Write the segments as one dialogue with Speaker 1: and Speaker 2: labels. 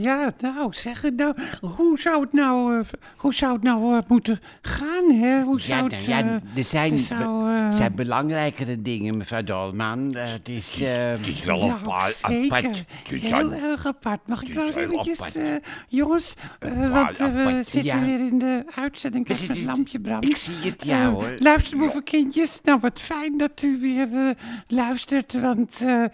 Speaker 1: ja, nou, zeg het nou. Hoe zou het nou, eh, hoe zou het nou eh, moeten gaan, hè? Hoe
Speaker 2: Ja,
Speaker 1: zou
Speaker 2: nou
Speaker 1: het...
Speaker 2: ja,
Speaker 1: eh,
Speaker 2: er zijn,
Speaker 1: er zou,
Speaker 2: be-
Speaker 1: eh,
Speaker 2: zijn belangrijkere dingen, mevrouw Dolman. Eh, het is... eh,
Speaker 3: Het is wel
Speaker 1: ja,
Speaker 3: een paar
Speaker 1: zeker.
Speaker 3: apart. Het is
Speaker 1: Heel
Speaker 3: een-
Speaker 1: erg apart. Mag ik
Speaker 3: is
Speaker 1: trouwens
Speaker 3: heel
Speaker 1: eventjes...
Speaker 3: apart.
Speaker 1: eh, jongens, eh,
Speaker 3: paar
Speaker 1: want eh, we
Speaker 3: apart.
Speaker 1: zitten
Speaker 2: Ja.
Speaker 1: weer in de uitzending. Kijk,
Speaker 2: zit
Speaker 1: het
Speaker 2: in-
Speaker 1: lampje brandt.
Speaker 2: ik zie het, ja,
Speaker 1: Eh,
Speaker 2: hoor.
Speaker 1: Luister, boevenkindjes. Nou, wat fijn dat u weer eh, luistert. Want eh,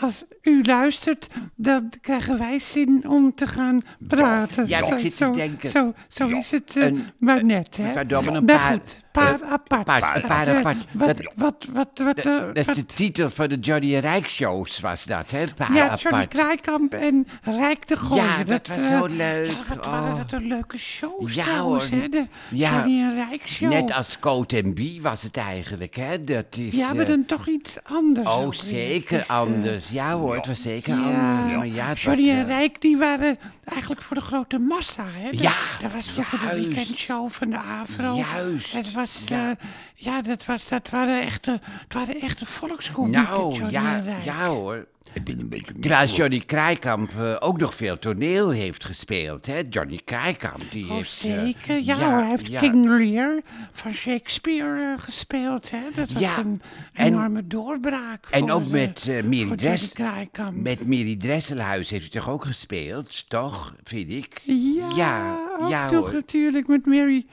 Speaker 1: als u luistert, dan krijgen wij zin om te gaan praten.
Speaker 2: Ja,
Speaker 1: zo,
Speaker 2: ik zit te
Speaker 1: zo,
Speaker 2: denken.
Speaker 1: Zo, zo
Speaker 3: Ja.
Speaker 1: is het eh,
Speaker 2: Een-
Speaker 1: maar net, hè.
Speaker 2: mevrouw Dobben, een
Speaker 1: Maar
Speaker 2: paar- eh,
Speaker 1: goed, paar apart.
Speaker 2: paar- een paar
Speaker 1: Eh,
Speaker 2: apart.
Speaker 1: Wat,
Speaker 2: Dat-
Speaker 1: wat, wat, wat, eh,
Speaker 2: dat is
Speaker 1: wat-
Speaker 2: de titel van de Johnny Rijkshows was dat, hè? Een paar
Speaker 1: ja, Johnny
Speaker 2: apart.
Speaker 1: Kraaikamp en Rijk de Gooier.
Speaker 2: Ja, dat was
Speaker 1: eh,
Speaker 2: zo leuk.
Speaker 1: Ja, wat waren
Speaker 2: Oh.
Speaker 1: dat een leuke show
Speaker 2: Ja,
Speaker 1: trouwens,
Speaker 2: hoor.
Speaker 1: hè? De
Speaker 2: Ja.
Speaker 1: Johnny en Rijk show.
Speaker 2: Net als Coat en Bie was het eigenlijk, hè? Dat is...
Speaker 1: Ja, maar
Speaker 2: eh,
Speaker 1: dan toch iets anders.
Speaker 2: Oh,
Speaker 1: ook weer.
Speaker 2: zeker
Speaker 1: Het is, eh,
Speaker 2: anders. Ja hoor, het was zeker
Speaker 1: Ja,
Speaker 2: anders. Maar ja, het was,
Speaker 1: Johnny en
Speaker 2: eh,
Speaker 1: Rijk die waren eigenlijk voor de grote massa. Hè? Dat-
Speaker 2: Ja,
Speaker 1: dat was vroeger de
Speaker 2: juist.
Speaker 1: weekendshow van de Avro.
Speaker 2: Juist,
Speaker 1: Het was, ja,
Speaker 2: ja.
Speaker 1: ja dat, was, dat waren echte, het waren echte volkscomieken,
Speaker 2: Nou,
Speaker 1: Johnny
Speaker 2: ja,
Speaker 1: en Rijk.
Speaker 2: ja hoor.
Speaker 3: Ik ben een beetje...
Speaker 2: Trouwens, Johnny Kraaikamp eh, ook nog veel toneel heeft gespeeld, hè? Johnny Kraaikamp, die
Speaker 1: Oh,
Speaker 2: heeft... eh,
Speaker 1: zeker. Ja, hoor, hij heeft
Speaker 2: ja.
Speaker 1: King Lear van Shakespeare eh, gespeeld. Hè? Dat was
Speaker 2: Ja,
Speaker 1: een
Speaker 2: en-
Speaker 1: enorme doorbraak.
Speaker 2: En
Speaker 1: voor,
Speaker 2: ook
Speaker 1: eh,
Speaker 2: met eh, Miri
Speaker 1: voor Johnny
Speaker 2: Dress-
Speaker 1: Kraaikamp.
Speaker 2: Met Miri Dresselhuis heeft hij toch ook gespeeld, toch? Vind ik.
Speaker 1: Ja, ook
Speaker 2: ja
Speaker 1: toch
Speaker 2: hoor.
Speaker 1: natuurlijk met Mary,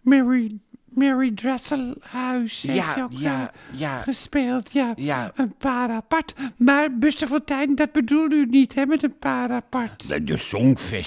Speaker 1: Mary, Mary Dresselhuis heeft
Speaker 2: Ja,
Speaker 1: hij ook
Speaker 2: ja,
Speaker 1: eh,
Speaker 2: ja.
Speaker 1: gespeeld. Ja.
Speaker 2: Ja.
Speaker 1: een paar apart. Maar Buster Fonteyn, dat bedoelde u niet, hè, met een paar apart.
Speaker 3: De, de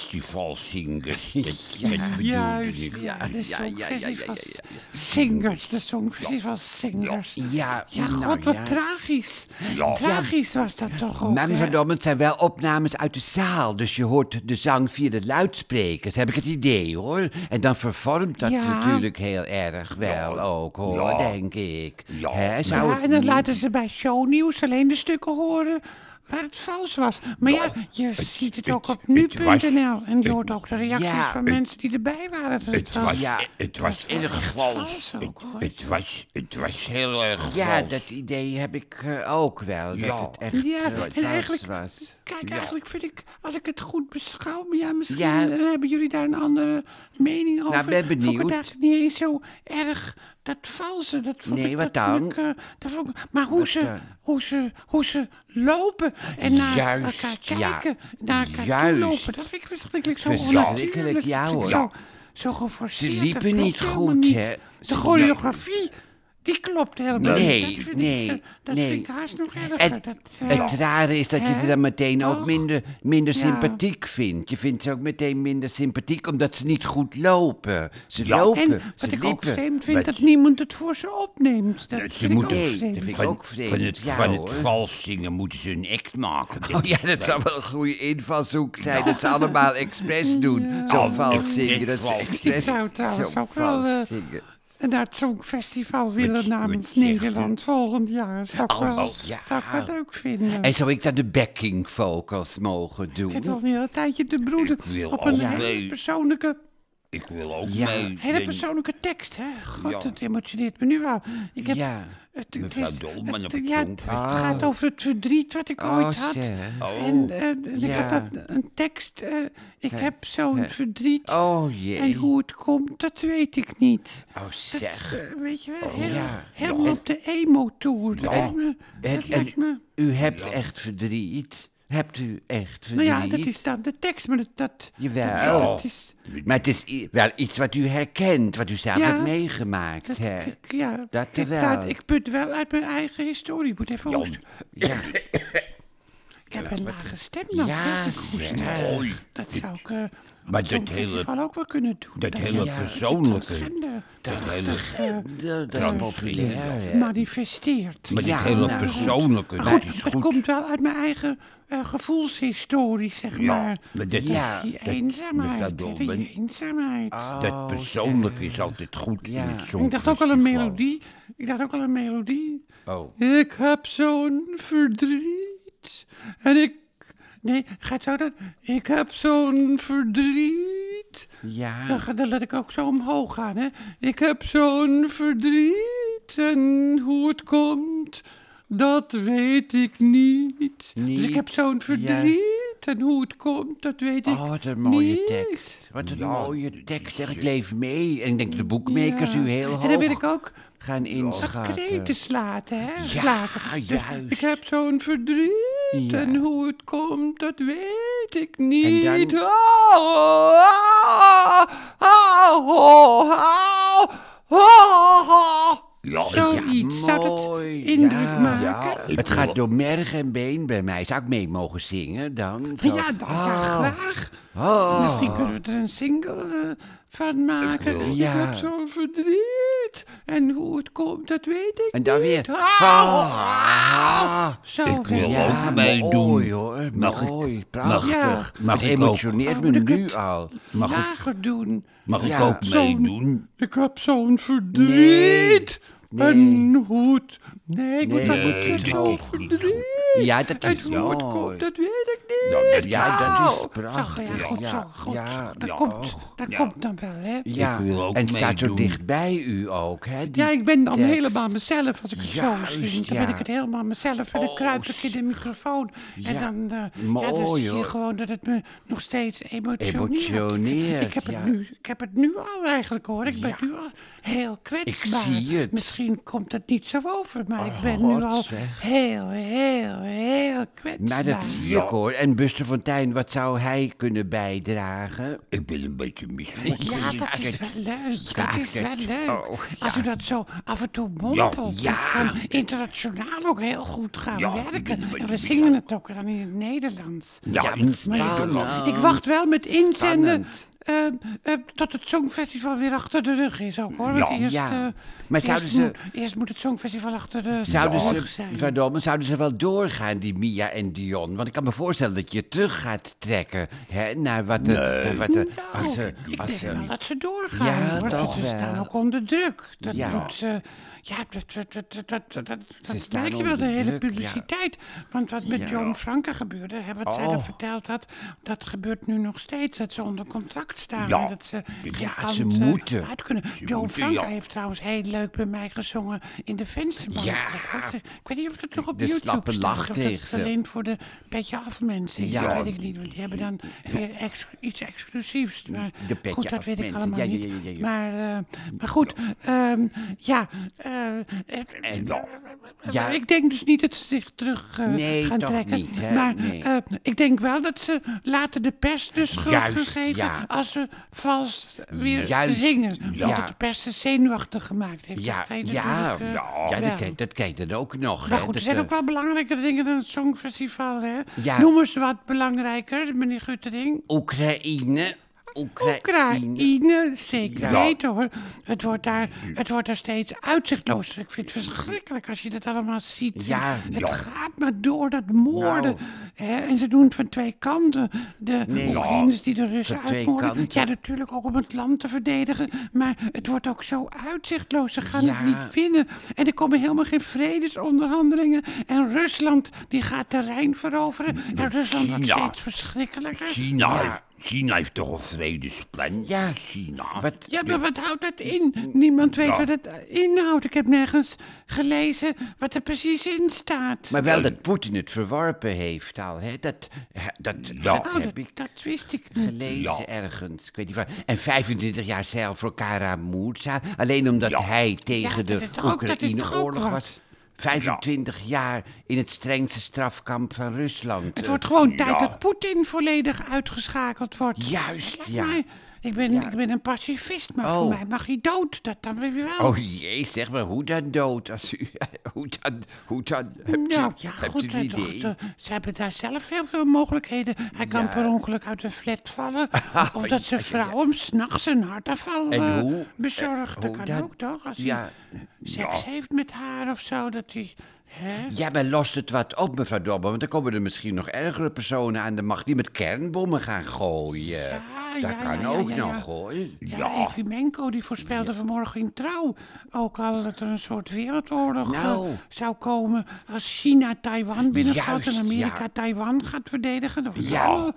Speaker 3: Songfestivalzingers. Dat, dat bedoelde
Speaker 1: Juist,
Speaker 3: ik.
Speaker 1: ja, de
Speaker 2: ja, ja, ja, ja, ja, ja.
Speaker 1: songfestivals singers, de songfestivals singers.
Speaker 2: Ja,
Speaker 1: Ja,
Speaker 2: nou,
Speaker 1: god, wat
Speaker 2: ja.
Speaker 1: tragisch.
Speaker 3: Ja.
Speaker 1: Tragisch was dat toch ook,
Speaker 2: Maar
Speaker 1: hè?
Speaker 2: verdomme, het zijn wel opnames uit de zaal. Dus je hoort de zang via de luidsprekers, heb ik het idee hoor. En dan vervormt dat
Speaker 1: Ja.
Speaker 2: natuurlijk heel erg wel ook hoor,
Speaker 3: Ja.
Speaker 2: denk ik.
Speaker 3: Ja.
Speaker 2: Hè, zou
Speaker 1: Ja,
Speaker 2: nou het
Speaker 1: en dan
Speaker 2: niet-
Speaker 1: laten ze bij shownieuws alleen de stukken horen waar het vals was. Maar ja, je ziet het,
Speaker 3: het-
Speaker 1: ook op
Speaker 3: het was-
Speaker 1: nu.nl. En je hoort ook de reacties
Speaker 2: ja,
Speaker 1: van
Speaker 2: het-
Speaker 1: mensen die erbij waren. Dat
Speaker 3: Het
Speaker 1: het
Speaker 3: was,
Speaker 2: Ja.
Speaker 3: het was erg vals.
Speaker 1: vals ook, hoor.
Speaker 3: Het, het was, het was heel erg
Speaker 2: Ja,
Speaker 3: vals.
Speaker 2: dat idee heb ik eh, ook wel. Dat
Speaker 3: Ja.
Speaker 2: het echt
Speaker 1: Ja,
Speaker 2: eh,
Speaker 1: en
Speaker 2: vals
Speaker 1: eigenlijk-
Speaker 2: was.
Speaker 1: Kijk, eigenlijk vind ik, als ik het goed beschouw, maar ja, misschien
Speaker 2: Ja. Nou,
Speaker 1: eh, hebben jullie daar een andere mening over.
Speaker 2: ben
Speaker 1: Vond ik
Speaker 2: benieuwd.
Speaker 1: het eigenlijk niet eens zo erg, dat valse. Dat vond
Speaker 2: Nee,
Speaker 1: ik,
Speaker 2: wat
Speaker 1: dat vond
Speaker 2: dan?
Speaker 1: ik, eh, dat vond ik- maar hoe ze, hoe, ze, hoe ze lopen en naar
Speaker 2: Juist,
Speaker 1: elkaar
Speaker 2: ja.
Speaker 1: kijken, naar elkaar toe
Speaker 2: Juist.
Speaker 1: lopen, dat vind ik verschrikkelijk zo
Speaker 2: Verschrikkelijk,
Speaker 1: onnatuurlijk.
Speaker 2: ja,
Speaker 1: Dat vind ik
Speaker 2: hoor.
Speaker 1: Zo, zo geforceerd.
Speaker 2: Ze
Speaker 1: dat
Speaker 2: liepen
Speaker 1: klopt
Speaker 2: niet
Speaker 1: helemaal
Speaker 2: goed,
Speaker 1: niet.
Speaker 2: hè.
Speaker 1: De
Speaker 2: Ze-
Speaker 1: choreografie, die klopt helemaal
Speaker 2: Nee,
Speaker 1: niet. Dat vind
Speaker 2: nee,
Speaker 1: ik, eh, dat
Speaker 2: nee.
Speaker 1: vind ik haast nog erger.
Speaker 2: Het,
Speaker 1: dat, eh,
Speaker 2: het rare is dat je ze
Speaker 1: Hè?
Speaker 2: dan meteen ook
Speaker 1: Toch?
Speaker 2: minder, minder
Speaker 1: Ja.
Speaker 2: sympathiek vindt. Je vindt ze ook meteen minder sympathiek omdat ze niet goed lopen. Ze lopen,
Speaker 1: En
Speaker 2: ze
Speaker 1: wat ik ook
Speaker 2: liepen.
Speaker 1: vreemd vind,
Speaker 3: Wat-
Speaker 1: dat niemand het voor ze opneemt. Dat
Speaker 3: Dat
Speaker 1: vind
Speaker 3: ze
Speaker 1: ik ook
Speaker 3: moeten,
Speaker 2: Nee, dat
Speaker 1: vreemd.
Speaker 2: vind ik
Speaker 3: van,
Speaker 2: ook vreemd.
Speaker 3: Van het,
Speaker 2: Ja,
Speaker 3: van
Speaker 2: hoor.
Speaker 3: het vals zingen moeten ze een act maken.
Speaker 2: Oh ja, dat zou wel een goede invalshoek zijn. Dat ze allemaal expres doen. Zo
Speaker 3: Nou,
Speaker 2: vals
Speaker 3: echt
Speaker 2: zingen. Dat ze
Speaker 3: vals.
Speaker 2: expres
Speaker 1: Ik zou trouwens
Speaker 2: zo
Speaker 1: ook wel,
Speaker 2: vals
Speaker 1: eh,
Speaker 2: zingen.
Speaker 1: En naar het Songfestival willen
Speaker 3: met
Speaker 1: namens
Speaker 3: zeggen.
Speaker 1: Nederland volgend jaar. Zou ik,
Speaker 2: Oh,
Speaker 1: wel,
Speaker 2: oh, ja.
Speaker 1: zou ik wel leuk vinden.
Speaker 2: En zou ik dan de backing vocals mogen
Speaker 1: ik zit
Speaker 2: doen?
Speaker 1: al een hele tijdje te broeden
Speaker 3: Ik wil
Speaker 1: op een
Speaker 3: ook
Speaker 1: hele
Speaker 3: mee.
Speaker 1: persoonlijke,
Speaker 3: Ik wil ook
Speaker 2: Ja.
Speaker 3: mee.
Speaker 1: hele
Speaker 3: zingen.
Speaker 1: persoonlijke tekst. Hè? God,
Speaker 3: Ja.
Speaker 1: het emotioneert me nu al. Ik heb,
Speaker 2: Ja.
Speaker 1: het, het,
Speaker 3: Mevrouw
Speaker 1: is,
Speaker 3: Dolman
Speaker 1: het,
Speaker 3: op het
Speaker 1: ja, het
Speaker 3: Songfestival.
Speaker 1: gaat over het verdriet wat ik ooit
Speaker 2: Oh,
Speaker 1: had.
Speaker 2: zeg.
Speaker 3: Oh.
Speaker 1: En eh, en ik had
Speaker 2: Ja.
Speaker 1: dat, een tekst. eh, ik heb zo'n verdriet.
Speaker 2: Oh jee.
Speaker 1: En hoe het komt, dat weet ik niet.
Speaker 2: Oh
Speaker 1: Dat,
Speaker 2: zeg.
Speaker 1: eh, weet je
Speaker 3: Oh,
Speaker 1: wel, heel-
Speaker 2: ja.
Speaker 1: helemaal op de emo-tour. Dat lijkt me...
Speaker 2: En-
Speaker 1: dat
Speaker 2: en
Speaker 1: lijkt me-
Speaker 2: u hebt echt verdriet. Hebt u echt
Speaker 1: nou
Speaker 2: verdriet?
Speaker 1: ja, dat is dan de tekst, maar dat... dat
Speaker 2: Jawel.
Speaker 1: Dat is...
Speaker 2: Maar het is i- wel iets wat u herkent, wat u zelf
Speaker 1: Ja.
Speaker 2: hebt meegemaakt.
Speaker 1: Dat,
Speaker 2: hè?
Speaker 1: ik, ja,
Speaker 2: Dat
Speaker 1: ik,
Speaker 2: wel.
Speaker 1: praat- ik put wel uit mijn eigen historie. Ik moet even hoesten.
Speaker 2: Ja.
Speaker 1: Ik heb een lage stem nog.
Speaker 2: Ja,
Speaker 1: Ja, ik
Speaker 2: zeg.
Speaker 1: hoest.
Speaker 3: Oei.
Speaker 1: Dat zou ik eh
Speaker 3: Maar
Speaker 1: op
Speaker 3: dat
Speaker 1: zo'n
Speaker 3: hele-
Speaker 1: festival ook wel kunnen doen.
Speaker 3: Dat
Speaker 1: je-
Speaker 3: hele
Speaker 1: je
Speaker 3: persoonlijke-
Speaker 1: transgender-
Speaker 3: Dat hele,
Speaker 1: eh,
Speaker 2: Dat dat is populair. hè?
Speaker 1: manifesteert.
Speaker 3: maar dit
Speaker 2: Ja,
Speaker 3: hele
Speaker 2: nou,
Speaker 3: persoonlijke,
Speaker 1: Goed,
Speaker 3: dat is
Speaker 1: het
Speaker 3: goed.
Speaker 1: komt wel uit mijn eigen eh, gevoelshistorie, zeg
Speaker 3: Ja,
Speaker 1: maar.
Speaker 3: maar dit-
Speaker 2: Ja,
Speaker 1: die
Speaker 3: dat-
Speaker 1: eenzaamheid,
Speaker 3: mevrouw
Speaker 1: die
Speaker 3: Dolman.
Speaker 1: eenzaamheid.
Speaker 3: dat persoonlijke is altijd goed
Speaker 2: Ja.
Speaker 3: in het
Speaker 1: ik dacht ook al een
Speaker 3: songfestival.
Speaker 1: melodie. Ik dacht ook al een melodie.
Speaker 3: Oh.
Speaker 1: Ik heb zo'n verdriet. En ik... Nee, gaat zo dat... Ik heb zo'n verdriet. Dan,
Speaker 2: Ja.
Speaker 1: Nou, ga- dan laat ik ook zo omhoog gaan, hè. Ik heb zo'n verdriet en hoe het komt, dat weet ik niet. Dus
Speaker 2: Niet,
Speaker 1: ik heb zo'n
Speaker 2: ja.
Speaker 1: verdriet tekst en hoe het komt, dat weet ik
Speaker 2: Oh, wat een mooie
Speaker 1: niet.
Speaker 2: tekst. Wat een
Speaker 3: Ja,
Speaker 2: mooie tekst. Zeg, ik leef mee. En ik denk dat de boekmakers
Speaker 1: Ja.
Speaker 2: u heel hoog
Speaker 1: En dan wil ik ook
Speaker 2: gaan
Speaker 1: Ach,
Speaker 2: inschatten.
Speaker 1: kreten slaten, hè?
Speaker 2: Oh, Ja,
Speaker 1: slagen. Dus
Speaker 2: juist.
Speaker 1: ik heb zo'n verdriet.
Speaker 2: Ja.
Speaker 1: En hoe het komt, dat weet ik niet.
Speaker 2: En dan-
Speaker 1: Oh, oh, oh, oh, oh, oh, oh.
Speaker 3: Ja,
Speaker 1: Zoiets zou dat
Speaker 2: mooi,
Speaker 1: indruk
Speaker 2: ja.
Speaker 1: maken.
Speaker 3: Ik
Speaker 2: Het
Speaker 3: wil
Speaker 2: gaat
Speaker 3: wel-
Speaker 2: door merg en been bij mij. Zou ik mee mogen zingen dan?
Speaker 1: Ja,
Speaker 2: Zo.
Speaker 1: dan ja,
Speaker 2: Oh,
Speaker 1: graag.
Speaker 2: oh.
Speaker 1: Misschien kunnen we er een single eh, van maken. Ik,
Speaker 2: Ja.
Speaker 1: heb zo'n verdriet. En hoe het komt, dat weet ik
Speaker 2: En dan
Speaker 1: niet.
Speaker 2: weer.
Speaker 1: Ah,
Speaker 2: Ah.
Speaker 1: Zo
Speaker 3: Ik wil
Speaker 1: ja.
Speaker 3: ook meedoen.
Speaker 2: mooi hoor.
Speaker 3: Mag ik-
Speaker 2: mooi,
Speaker 3: mag
Speaker 2: prachtig.
Speaker 1: ik-
Speaker 2: het
Speaker 3: mag ik ook?
Speaker 2: emotioneert
Speaker 1: Oh,
Speaker 2: me
Speaker 1: moet ik
Speaker 2: nu
Speaker 1: het-
Speaker 2: al.
Speaker 1: mag lager doen.
Speaker 3: Mag ik
Speaker 2: Ja.
Speaker 3: ook
Speaker 1: Zo'n-
Speaker 3: meedoen?
Speaker 1: Ik heb zo'n verdriet.
Speaker 2: Nee.
Speaker 1: En hoe het... Nee, ik moet
Speaker 2: Nee,
Speaker 1: wel
Speaker 2: nee,
Speaker 1: ik heb
Speaker 3: dit
Speaker 1: zo'n
Speaker 3: is niet
Speaker 1: verdriet.
Speaker 2: Ja, dat
Speaker 1: En
Speaker 2: is
Speaker 1: hoe het
Speaker 2: mooi.
Speaker 1: komt, dat weet ik niet.
Speaker 3: Ja, dat-
Speaker 2: Ja, dat is
Speaker 1: Zo,
Speaker 2: prachtig.
Speaker 1: ja, goed
Speaker 2: Ja,
Speaker 1: zo, goed
Speaker 2: ja,
Speaker 1: zo. Dat,
Speaker 3: ja.
Speaker 1: komt, dat
Speaker 3: Ja.
Speaker 1: komt dan wel, hè?
Speaker 2: Ja,
Speaker 3: wil ook
Speaker 2: en het staat zo
Speaker 3: meedoen.
Speaker 2: dichtbij u ook, hè? die
Speaker 1: Ja, ik ben dan
Speaker 2: tekst.
Speaker 1: helemaal mezelf als ik het
Speaker 2: Juist,
Speaker 1: zo zie. Dan
Speaker 2: ja. Oh,
Speaker 1: ben ik het helemaal mezelf en dan kruip ik in de microfoon. En
Speaker 2: Ja, oh,
Speaker 1: dan, eh ja, dan
Speaker 2: mooi,
Speaker 1: zie je
Speaker 2: hoor.
Speaker 1: gewoon dat het me nog steeds emotioneert.
Speaker 2: Emotioneert,
Speaker 1: Ik heb,
Speaker 2: ja.
Speaker 1: het nu, ik heb het nu al eigenlijk hoor. Ik ben nu al heel kwetsbaar.
Speaker 2: zie het. Oh,
Speaker 1: Misschien komt het niet zo over, maar ik ben
Speaker 2: God,
Speaker 1: nu al
Speaker 2: zeg.
Speaker 1: heel, heel, heel kwetsbaar.
Speaker 2: Maar dat zie ik hoor. En Buster Fontijn, wat zou hij kunnen bijdragen?
Speaker 3: Ik ben een beetje misselijk.
Speaker 1: Ja, dat is wel leuk. Dat is wel leuk.
Speaker 2: Oh,
Speaker 1: Als u dat zo af en toe mompelt,
Speaker 3: Ja,
Speaker 1: dat
Speaker 3: ja.
Speaker 1: kan internationaal ook heel goed gaan
Speaker 3: Ja,
Speaker 1: werken.
Speaker 3: ik ben-
Speaker 1: En we zingen het ook dan in het Nederlands.
Speaker 3: Ja, in het Nederland.
Speaker 1: Ik wacht wel met inzenden
Speaker 2: Spannend.
Speaker 1: eh, eh, tot het Songfestival weer achter de rug is ook hoor. Want
Speaker 3: Ja.
Speaker 1: eerst,
Speaker 2: Ja.
Speaker 1: eh,
Speaker 2: Maar
Speaker 1: eerst
Speaker 2: zouden ze-
Speaker 1: moet- eerst moet het Songfestival achter de
Speaker 2: Zouden
Speaker 1: rug
Speaker 2: ze,
Speaker 1: zijn.
Speaker 2: verdomme, zouden ze wel doorgaan, die Mia en Dion? Want ik kan me voorstellen dat je terug gaat trekken hè, naar wat de... naar wat de
Speaker 1: Nou,
Speaker 2: als ze,
Speaker 1: ik
Speaker 2: als
Speaker 1: denk
Speaker 2: ze-
Speaker 1: wel dat ze doorgaan.
Speaker 2: Ja,
Speaker 1: hoor.
Speaker 2: toch
Speaker 1: ze
Speaker 2: wel.
Speaker 1: staan ook onder druk. Dat
Speaker 2: Ja.
Speaker 1: doet ze. Ja, dat, dat, dat, dat, dat, dat, dat
Speaker 2: staan
Speaker 1: merk je wel,
Speaker 2: onder
Speaker 1: de hele
Speaker 2: druk, ja.
Speaker 1: publiciteit. Want wat met Joan Franke gebeurde, hè, wat zij dan
Speaker 2: Oh.
Speaker 1: verteld had, dat gebeurt nu nog steeds. Dat ze onder contract staan.
Speaker 3: Ja.
Speaker 1: en dat ze geen
Speaker 2: Ja, ze
Speaker 1: kant, eh,
Speaker 2: moeten.
Speaker 1: uit kunnen. Joan
Speaker 3: moeten,
Speaker 1: Franke
Speaker 3: ja.
Speaker 1: heeft trouwens heel leuk bij mij gezongen in de vensterbank.
Speaker 2: Ja.
Speaker 1: Ik, weet niet of dat nog op
Speaker 2: De
Speaker 1: YouTube
Speaker 2: slappe
Speaker 1: staat,
Speaker 2: lach
Speaker 1: of dat
Speaker 2: tegen ze.
Speaker 1: alleen voor de petje af mensen is.
Speaker 2: Ja.
Speaker 1: Dat weet ik niet, want die hebben dan weer ex- iets exclusiefs. Maar
Speaker 2: De petje
Speaker 1: goed, dat
Speaker 2: af
Speaker 1: weet ik
Speaker 2: mensen.
Speaker 1: allemaal
Speaker 2: Ja, ja,
Speaker 1: niet.
Speaker 2: ja, ja, ja.
Speaker 1: Maar, eh, maar goed, ehm, ja. eh, het-
Speaker 2: ja.
Speaker 1: ja. Ik denk dus niet dat ze zich terug eh,
Speaker 2: Nee,
Speaker 1: gaan
Speaker 2: toch
Speaker 1: trekken.
Speaker 2: niet, hè?
Speaker 1: Maar
Speaker 2: Nee.
Speaker 1: eh, ik denk wel dat ze later de pers de schuld
Speaker 2: Juist,
Speaker 1: gaan geven
Speaker 2: ja.
Speaker 1: als ze vals weer
Speaker 2: Juist,
Speaker 1: zingen.
Speaker 2: ja.
Speaker 1: Omdat de pers ze zenuwachtig gemaakt heeft.
Speaker 2: Ja,
Speaker 1: Dat kan je
Speaker 2: ja,
Speaker 1: natuurlijk, eh,
Speaker 2: ja,
Speaker 1: wel.
Speaker 2: dat kijkt dat kijkt dan ook nog.
Speaker 1: Maar
Speaker 2: hè,
Speaker 1: Nou goed, er
Speaker 2: dat,
Speaker 1: zijn
Speaker 2: eh,
Speaker 1: ook wel belangrijke dingen dan het Songfestival, hè?
Speaker 2: Ja.
Speaker 1: Noem eens wat belangrijker, meneer Guttering.
Speaker 2: Oekraïne. Oekraïne.
Speaker 1: Oekraïne, zeker
Speaker 3: Ja.
Speaker 1: weten hoor. Het wordt, daar, het wordt daar steeds uitzichtloos. Ik vind het verschrikkelijk als je dat allemaal ziet.
Speaker 2: Ja, Nou.
Speaker 1: het
Speaker 3: ja.
Speaker 1: gaat maar door, dat moorden. Hè? En ze doen het van twee kanten. De
Speaker 2: Nee.
Speaker 1: Oekraïners die de Russen
Speaker 2: Van twee
Speaker 1: uitmoorden.
Speaker 2: kanten.
Speaker 1: Ja, natuurlijk ook om het land te verdedigen. Maar het wordt ook zo uitzichtloos. Ze gaan het
Speaker 2: Ja.
Speaker 1: niet winnen. En er komen helemaal geen vredesonderhandelingen. En Rusland die gaat terrein veroveren. En Rusland wordt
Speaker 3: China.
Speaker 1: steeds verschrikkelijker.
Speaker 3: China,
Speaker 2: Ja.
Speaker 3: heeft, China heeft toch een vredesplan?
Speaker 2: Ja.
Speaker 3: China.
Speaker 2: Wat,
Speaker 1: Ja, maar wat houdt dat in? Niemand weet
Speaker 2: Nou.
Speaker 3: Ja.
Speaker 1: wat het inhoudt. Ik heb nergens gelezen wat er precies in staat.
Speaker 2: maar wel dat Poetin het verworpen heeft al. Hè? Dat, hè, dat, dat
Speaker 1: Oh,
Speaker 2: heb
Speaker 1: dat,
Speaker 2: ik
Speaker 1: dat wist ik niet.
Speaker 2: gelezen
Speaker 3: Ja.
Speaker 2: ergens. Ik weet niet waar. En 25 jaar cel voor Kara Moerza. Alleen omdat
Speaker 3: Ja.
Speaker 2: hij
Speaker 1: Ja,
Speaker 2: tegen
Speaker 1: dat
Speaker 2: de
Speaker 1: is toch ook- dat is toch ook
Speaker 2: Oekraïne-oorlog
Speaker 1: wat?
Speaker 2: was. 25 jaar in het strengste strafkamp van Rusland.
Speaker 1: Het wordt gewoon
Speaker 3: Ja.
Speaker 1: tijd dat Poetin volledig uitgeschakeld wordt.
Speaker 2: Juist,
Speaker 1: Laat
Speaker 2: ja.
Speaker 1: mij. Ik ben, ik ben een pacifist, maar voor
Speaker 2: Oh.
Speaker 1: mij mag hij dood. Dat dan weer wel.
Speaker 2: Oh jee, zeg maar, hoe dan dood? Als u, hoe dan, hoe dan? Hebt u-
Speaker 1: Nou, ja,
Speaker 2: hebt u
Speaker 1: goed.
Speaker 2: een
Speaker 1: hè, toch,
Speaker 2: idee?
Speaker 1: ze, ze hebben daar zelf heel veel mogelijkheden. Hij kan per ongeluk uit een flat vallen. of dat zijn vrouw hem s'nachts een hartaanval
Speaker 2: En
Speaker 1: eh,
Speaker 2: hoe-
Speaker 1: bezorgt.
Speaker 2: eh,
Speaker 1: Dat
Speaker 2: hoe
Speaker 1: kan
Speaker 2: dan?
Speaker 1: ook, toch? Als
Speaker 2: Ja.
Speaker 1: hij seks heeft met haar of zo, dat hij... Hè?
Speaker 2: Ja, maar lost het wat op, mevrouw Dobber? Want dan komen er misschien nog ergere personen aan de macht die met kernbommen gaan gooien. dat
Speaker 1: ja,
Speaker 2: kan
Speaker 1: ja, ja,
Speaker 2: ook
Speaker 1: ja,
Speaker 2: nog,
Speaker 1: ja.
Speaker 2: hoor.
Speaker 1: Ja, Evimenko die voorspelde vanmorgen in Trouw ook al dat er een soort wereldoorlog eh,
Speaker 2: Nou.
Speaker 1: zou komen als China Taiwan binnenvalt en
Speaker 2: Juist,
Speaker 1: Amerika
Speaker 2: ja.
Speaker 1: Taiwan gaat verdedigen. Dan-
Speaker 2: Ja.
Speaker 1: Oh,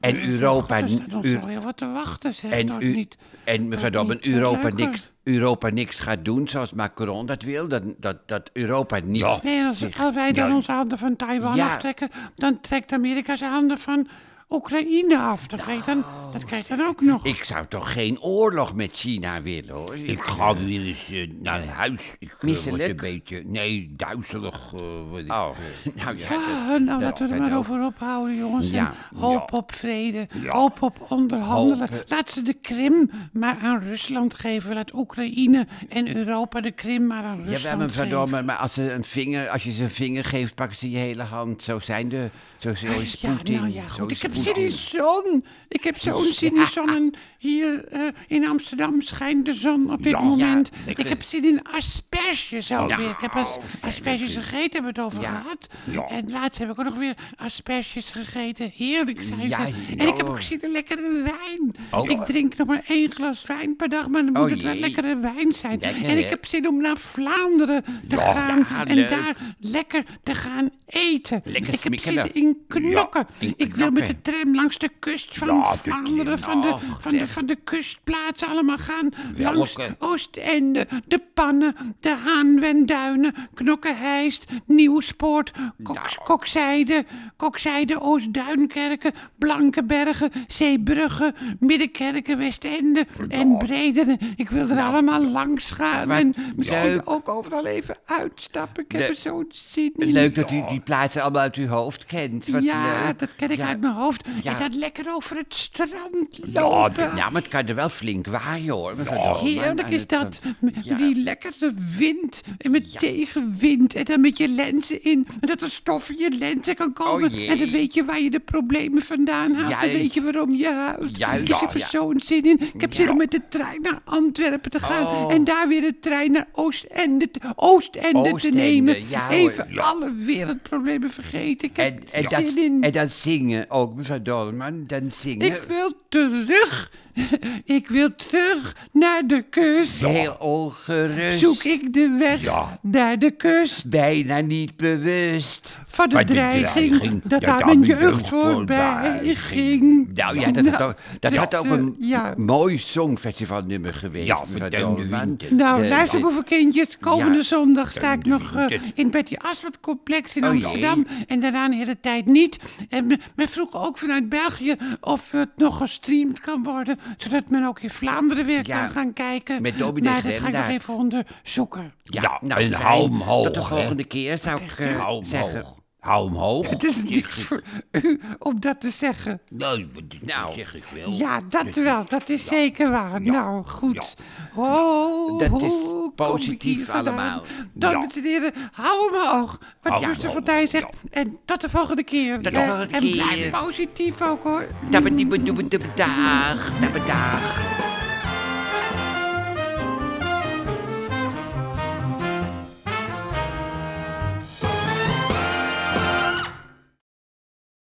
Speaker 2: En
Speaker 1: eh,
Speaker 2: Europa-
Speaker 1: Er staat ons
Speaker 2: Eu-
Speaker 1: nog heel wat te wachten. Zeg. Het
Speaker 2: En,
Speaker 1: wordt
Speaker 2: u,
Speaker 1: niet,
Speaker 2: en mevrouw Dobber,
Speaker 1: niet zo
Speaker 2: Europa
Speaker 1: leuk,
Speaker 2: niks, Europa niks gaat doen zoals Macron dat wil. Dat, dat, dat Europa niet...
Speaker 3: Ja.
Speaker 1: nee, als, als wij dan
Speaker 3: Ja.
Speaker 1: onze handen van Taiwan
Speaker 2: Ja.
Speaker 1: aftrekken, dan trekt Amerika zijn handen van Oekraïne af. Dat
Speaker 2: Nou.
Speaker 1: krijg je dan, dat krijg je dan ook nog.
Speaker 2: Ik zou toch geen oorlog met China willen, hoor.
Speaker 3: Ik ga weer eens eh, naar huis. Ik eh, word
Speaker 2: Misselijk?
Speaker 3: een beetje... Nee, duizelig. eh, word ik.
Speaker 2: Oh, nou ja.
Speaker 1: Ah, nou, laten we er
Speaker 2: dat
Speaker 1: maar
Speaker 2: ook.
Speaker 1: over ophouden, jongens.
Speaker 2: Ja,
Speaker 1: En hoop
Speaker 3: ja.
Speaker 1: op vrede,
Speaker 3: Ja.
Speaker 1: hoop op onderhandelen.
Speaker 2: Hoop, eh.
Speaker 1: Laat ze de Krim maar aan Rusland geven. Laat Oekraïne en Europa de Krim maar aan Rusland
Speaker 2: Jawel,
Speaker 1: geven.
Speaker 2: mevrouw Dormer, maar als ze, een vinger, als je ze een vinger geeft, pakken ze je hele hand. Zo zijn de... Zo, zo is
Speaker 1: Ja,
Speaker 2: Poetin.
Speaker 1: nou ja,
Speaker 2: zo
Speaker 1: goed.
Speaker 2: is Dus-
Speaker 1: Ik heb
Speaker 2: Poetin.
Speaker 1: zin in zon. Ik heb zo'n zin in zon. En hier eh, in Amsterdam schijnt de zon op dit
Speaker 3: Ja,
Speaker 1: moment.
Speaker 2: lekker.
Speaker 1: ik heb zin in asperges alweer.
Speaker 2: Ja,
Speaker 1: ik heb as- asperges gegeten, hebben we het over
Speaker 2: Ja.
Speaker 1: gehad.
Speaker 3: Ja.
Speaker 1: En laatst heb ik ook nog weer asperges gegeten. Heerlijk zijn
Speaker 2: Ja,
Speaker 1: ze. En
Speaker 2: ja,
Speaker 1: ik heb ook
Speaker 2: hoor.
Speaker 1: zin in lekkere wijn.
Speaker 2: Oh.
Speaker 1: Ik drink nog maar één glas wijn per dag, maar dan moet
Speaker 2: Oh,
Speaker 1: het wel
Speaker 2: jee.
Speaker 1: lekkere wijn zijn.
Speaker 2: Lekker,
Speaker 1: en ik
Speaker 2: hè?
Speaker 1: heb zin om naar Vlaanderen te
Speaker 2: Ja,
Speaker 1: gaan.
Speaker 2: ja,
Speaker 1: en
Speaker 2: leuk.
Speaker 1: daar lekker te gaan eten.
Speaker 2: Lekker
Speaker 1: ik heb zin
Speaker 2: smikkelen.
Speaker 1: in knokken.
Speaker 2: in
Speaker 1: ik wil met de
Speaker 2: knokken.
Speaker 1: tram langs de kust van
Speaker 3: Ja, de
Speaker 1: Vlaanderen,
Speaker 3: tram.
Speaker 1: van de,
Speaker 2: Och,
Speaker 1: van, de,
Speaker 2: Oh, zeg. eh.
Speaker 1: van de kustplaatsen allemaal gaan.
Speaker 2: Welke?
Speaker 1: Langs Oostende, de Pannen, de Haanwenduinen, Knokkenheist, Nieuwspoort, Koks,
Speaker 2: Nou.
Speaker 1: Kokzijde, Kokzijde, Oost-Duinkerken, Blankenbergen, Zeebrugge, Middenkerken, Westende en Bredene. Ik wil er allemaal langs gaan en misschien
Speaker 2: Nou. leuk.
Speaker 1: ook overal even uitstappen. Ik heb
Speaker 2: Le-
Speaker 1: er zo'n zin in.
Speaker 2: Leuk dat u die plaatsen allemaal uit uw hoofd kent. Wat
Speaker 1: ja,
Speaker 2: leuk.
Speaker 1: dat ken ik
Speaker 2: Ja.
Speaker 1: uit mijn hoofd.
Speaker 2: Ja.
Speaker 1: En dan lekker over het strand
Speaker 2: Ja,
Speaker 1: lopen.
Speaker 2: d- nou, maar het kan er wel flink waaien, hoor. mevrouw Dormer.
Speaker 1: Heerlijk
Speaker 2: Aan
Speaker 1: is
Speaker 2: het-
Speaker 1: dat. Met
Speaker 2: Ja.
Speaker 1: Die lekkere wind. En met tegenwind. En dan met je lenzen in. En dat er stof in je lenzen kan komen.
Speaker 2: Oh, jee.
Speaker 1: en dan weet je waar je de problemen vandaan haalt. dan
Speaker 2: Juist.
Speaker 1: weet je waarom je huilt.
Speaker 2: Juist, Oh,
Speaker 1: Ik heb er
Speaker 2: ja.
Speaker 1: zo'n zin in. Ik heb zin
Speaker 2: Ja.
Speaker 1: om met de trein naar Antwerpen te gaan.
Speaker 2: Oh.
Speaker 1: En daar weer de trein naar Oostende, te- Oostende, te
Speaker 2: Oostende,
Speaker 1: nemen.
Speaker 2: ja, hoor.
Speaker 1: Even
Speaker 2: Ja.
Speaker 1: alle wereldproblemen vergeten. Ik heb
Speaker 2: En, en,
Speaker 1: zin
Speaker 2: dat,
Speaker 1: in.
Speaker 2: en dan zingen ook, mevrouw Dolman. Dan zingen.
Speaker 1: Ik wil terug. ik wil terug naar de kust.
Speaker 2: Heel ongerust.
Speaker 1: Zoek ik de weg
Speaker 3: Ja.
Speaker 1: naar de kust
Speaker 2: Bijna niet bewust.
Speaker 1: van de,
Speaker 3: Van de
Speaker 1: dreiging,
Speaker 3: dreiging,
Speaker 1: dat daar mijn jeugd voorbij
Speaker 3: voorbij
Speaker 1: ging.
Speaker 2: Nou ja, dat, had
Speaker 1: Nou,
Speaker 2: ook, dat had ook
Speaker 1: eh,
Speaker 2: een
Speaker 1: ja.
Speaker 2: mooi songfestivalnummer geweest.
Speaker 3: Ja,
Speaker 2: mevrouw
Speaker 3: verduimde
Speaker 2: Dolman.
Speaker 3: winter.
Speaker 1: Nou,
Speaker 2: De-
Speaker 1: luister, boevenkindjes. Komende
Speaker 2: Ja.
Speaker 1: zondag sta ik nog eh,
Speaker 3: dit-
Speaker 1: in Betty Aswad Complex in
Speaker 2: Oh, jee.
Speaker 1: Amsterdam. En daarna een hele tijd niet. En men, men vroeg ook vanuit België of het nog gestreamd kan worden. Zodat men ook in Vlaanderen weer
Speaker 2: Ja,
Speaker 1: kan gaan kijken.
Speaker 2: met dominee
Speaker 1: Maar dat ga ik nog
Speaker 2: Grendaert.
Speaker 1: even onderzoeken.
Speaker 2: Ja,
Speaker 3: Ja,
Speaker 2: nou,
Speaker 3: en
Speaker 2: fijn.
Speaker 3: hou hem hoog,
Speaker 2: Tot de
Speaker 3: hè.
Speaker 2: volgende keer zou ik eh,
Speaker 3: Hou hem
Speaker 2: zeggen.
Speaker 3: hoog. Hou hem hoog.
Speaker 1: Het is niks voor u om dat te zeggen.
Speaker 3: Nou, dat- dat
Speaker 2: Nou.
Speaker 3: zeg ik wel.
Speaker 1: Ja, dat wel. Dat is zeker waar. Nou, goed. Ho,
Speaker 2: Dat
Speaker 1: ho,
Speaker 2: is
Speaker 1: kom ik
Speaker 2: positief
Speaker 1: hier vandaan.
Speaker 2: allemaal.
Speaker 1: Dan,
Speaker 3: Ja.
Speaker 1: dames en heren, hou hem hoog. Wat
Speaker 3: Hou hem
Speaker 1: Justin
Speaker 3: hoog,
Speaker 1: van Tij zegt.
Speaker 3: ja.
Speaker 1: En tot de volgende keer.
Speaker 2: Tot de
Speaker 1: Eh,
Speaker 2: volgende
Speaker 1: En blijf
Speaker 2: keer.
Speaker 1: positief ook, hoor.
Speaker 2: Dabbedibbedubbedaag, dabbedibbedubbedaag.